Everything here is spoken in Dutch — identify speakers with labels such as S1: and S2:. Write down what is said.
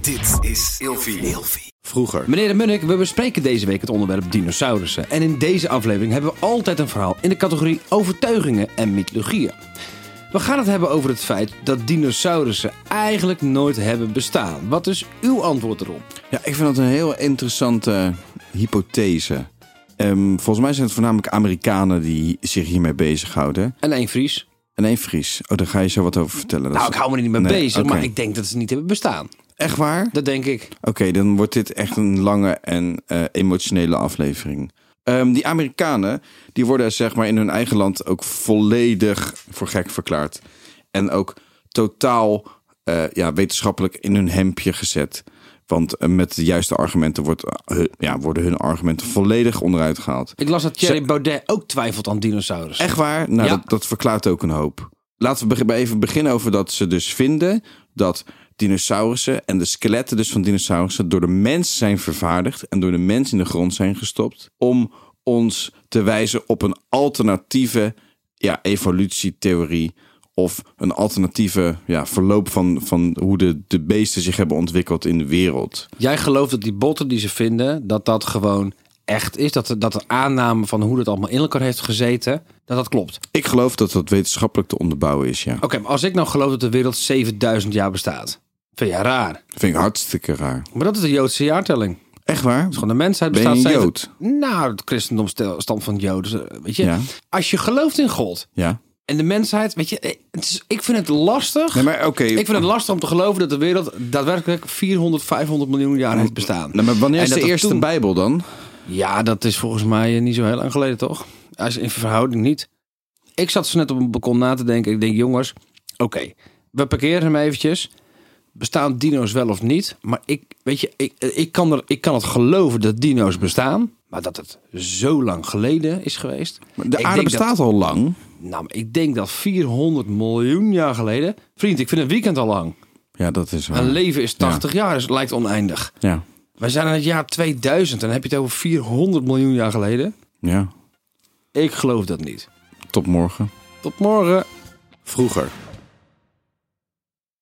S1: Dit is Ilfi.
S2: Vroeger.
S3: Meneer de Munnik, we bespreken deze week het onderwerp dinosaurussen. En in deze aflevering hebben we altijd een verhaal in de categorie overtuigingen en mythologieën. We gaan het hebben over het feit dat dinosaurussen eigenlijk nooit hebben bestaan. Wat is uw antwoord erop?
S2: Ja, ik vind dat een heel interessante hypothese. Ehm, volgens mij zijn het voornamelijk Amerikanen die zich hiermee bezighouden.
S3: En één Fries.
S2: En één Fries. Oh, daar ga je zo wat over vertellen. Dat
S3: Nou,
S2: is-
S3: ik hou me er niet mee
S2: Nee,
S3: bezig,
S2: oké.
S3: maar ik denk dat ze niet hebben bestaan.
S2: Echt waar?
S3: Dat denk ik.
S2: Oké, dan wordt dit echt een lange en eh, emotionele aflevering. Ehm, die Amerikanen, die worden zeg maar in hun eigen land ook volledig voor gek verklaard. En ook totaal eh, ja, wetenschappelijk in hun hemdje gezet. Want eh, met de juiste argumenten wordt, eh, hun- ja, worden hun argumenten volledig onderuit gehaald.
S3: Ik las dat Thierry
S2: Ze-
S3: Baudet ook twijfelt aan dinosaurus.
S2: Echt waar? Nou,
S3: Ja.
S2: dat, dat verklaart ook een hoop. Laten we beg- even beginnen over dat ze dus vinden dat dinosaurussen en de skeletten dus van dinosaurussen door de mens zijn vervaardigd en door de mens in de grond zijn gestopt om ons te wijzen op een alternatieve ja, evolutietheorie of een alternatieve ja, verloop van, van hoe de, de beesten zich hebben ontwikkeld in de wereld.
S3: Jij gelooft dat die botten die ze vinden, dat dat gewoon echt is. Dat de, dat de aanname van hoe dat allemaal in elkaar heeft gezeten, dat dat klopt. Oké,
S2: Ik geloof dat dat wetenschappelijk te onderbouwen is, ja.
S3: maar als ik nou geloof dat de wereld 7000 jaar bestaat, vind je raar.
S2: Vind ik hartstikke raar.
S3: Maar dat is de Joodse jaartelling.
S2: Echt waar?
S3: Van de mensheid
S2: Ben je
S3: bestaat
S2: een
S3: zeven-
S2: Jood?
S3: Nou, het christendom stel- stamt van Joden. dus, eh, Weet je,
S2: Ja.
S3: als je gelooft in God
S2: Ja.
S3: en de mensheid, weet je, eh, het is, ik vind het lastig.
S2: Nee, maar oké.
S3: Ik vind het lastig om te geloven dat de wereld daadwerkelijk 400, 500 miljoen jaar heeft bestaan.
S2: Nou, maar wanneer
S3: En
S2: is
S3: dat
S2: de
S3: dat
S2: eerste
S3: toen-
S2: Bijbel dan?
S3: Ja, dat is volgens mij eh, niet zo heel lang geleden, toch? Als in verhouding niet. Ik zat zo net op een balkon na te denken. Ik denk, jongens, oké, we parkeren hem eventjes. Bestaan dino's wel of niet? Maar ik, weet je, ik, eh, ik, kan er, ik kan het geloven dat dino's bestaan. Maar dat het zo lang geleden is geweest.
S2: De
S3: Ik
S2: aarde
S3: denk
S2: bestaat
S3: Dat,
S2: al lang.
S3: nou, maar ik denk dat 400 miljoen jaar geleden... Vriend, ik vind een weekend al lang.
S2: Ja, dat is waar.
S3: Een leven is 80 jaar, dus het lijkt oneindig.
S2: Ja.
S3: Wij zijn in het jaar 2000 en dan heb je het over 400 miljoen jaar geleden.
S2: ja,
S3: Ik geloof dat niet.
S2: tot morgen.
S3: Tot morgen.
S2: Vroeger.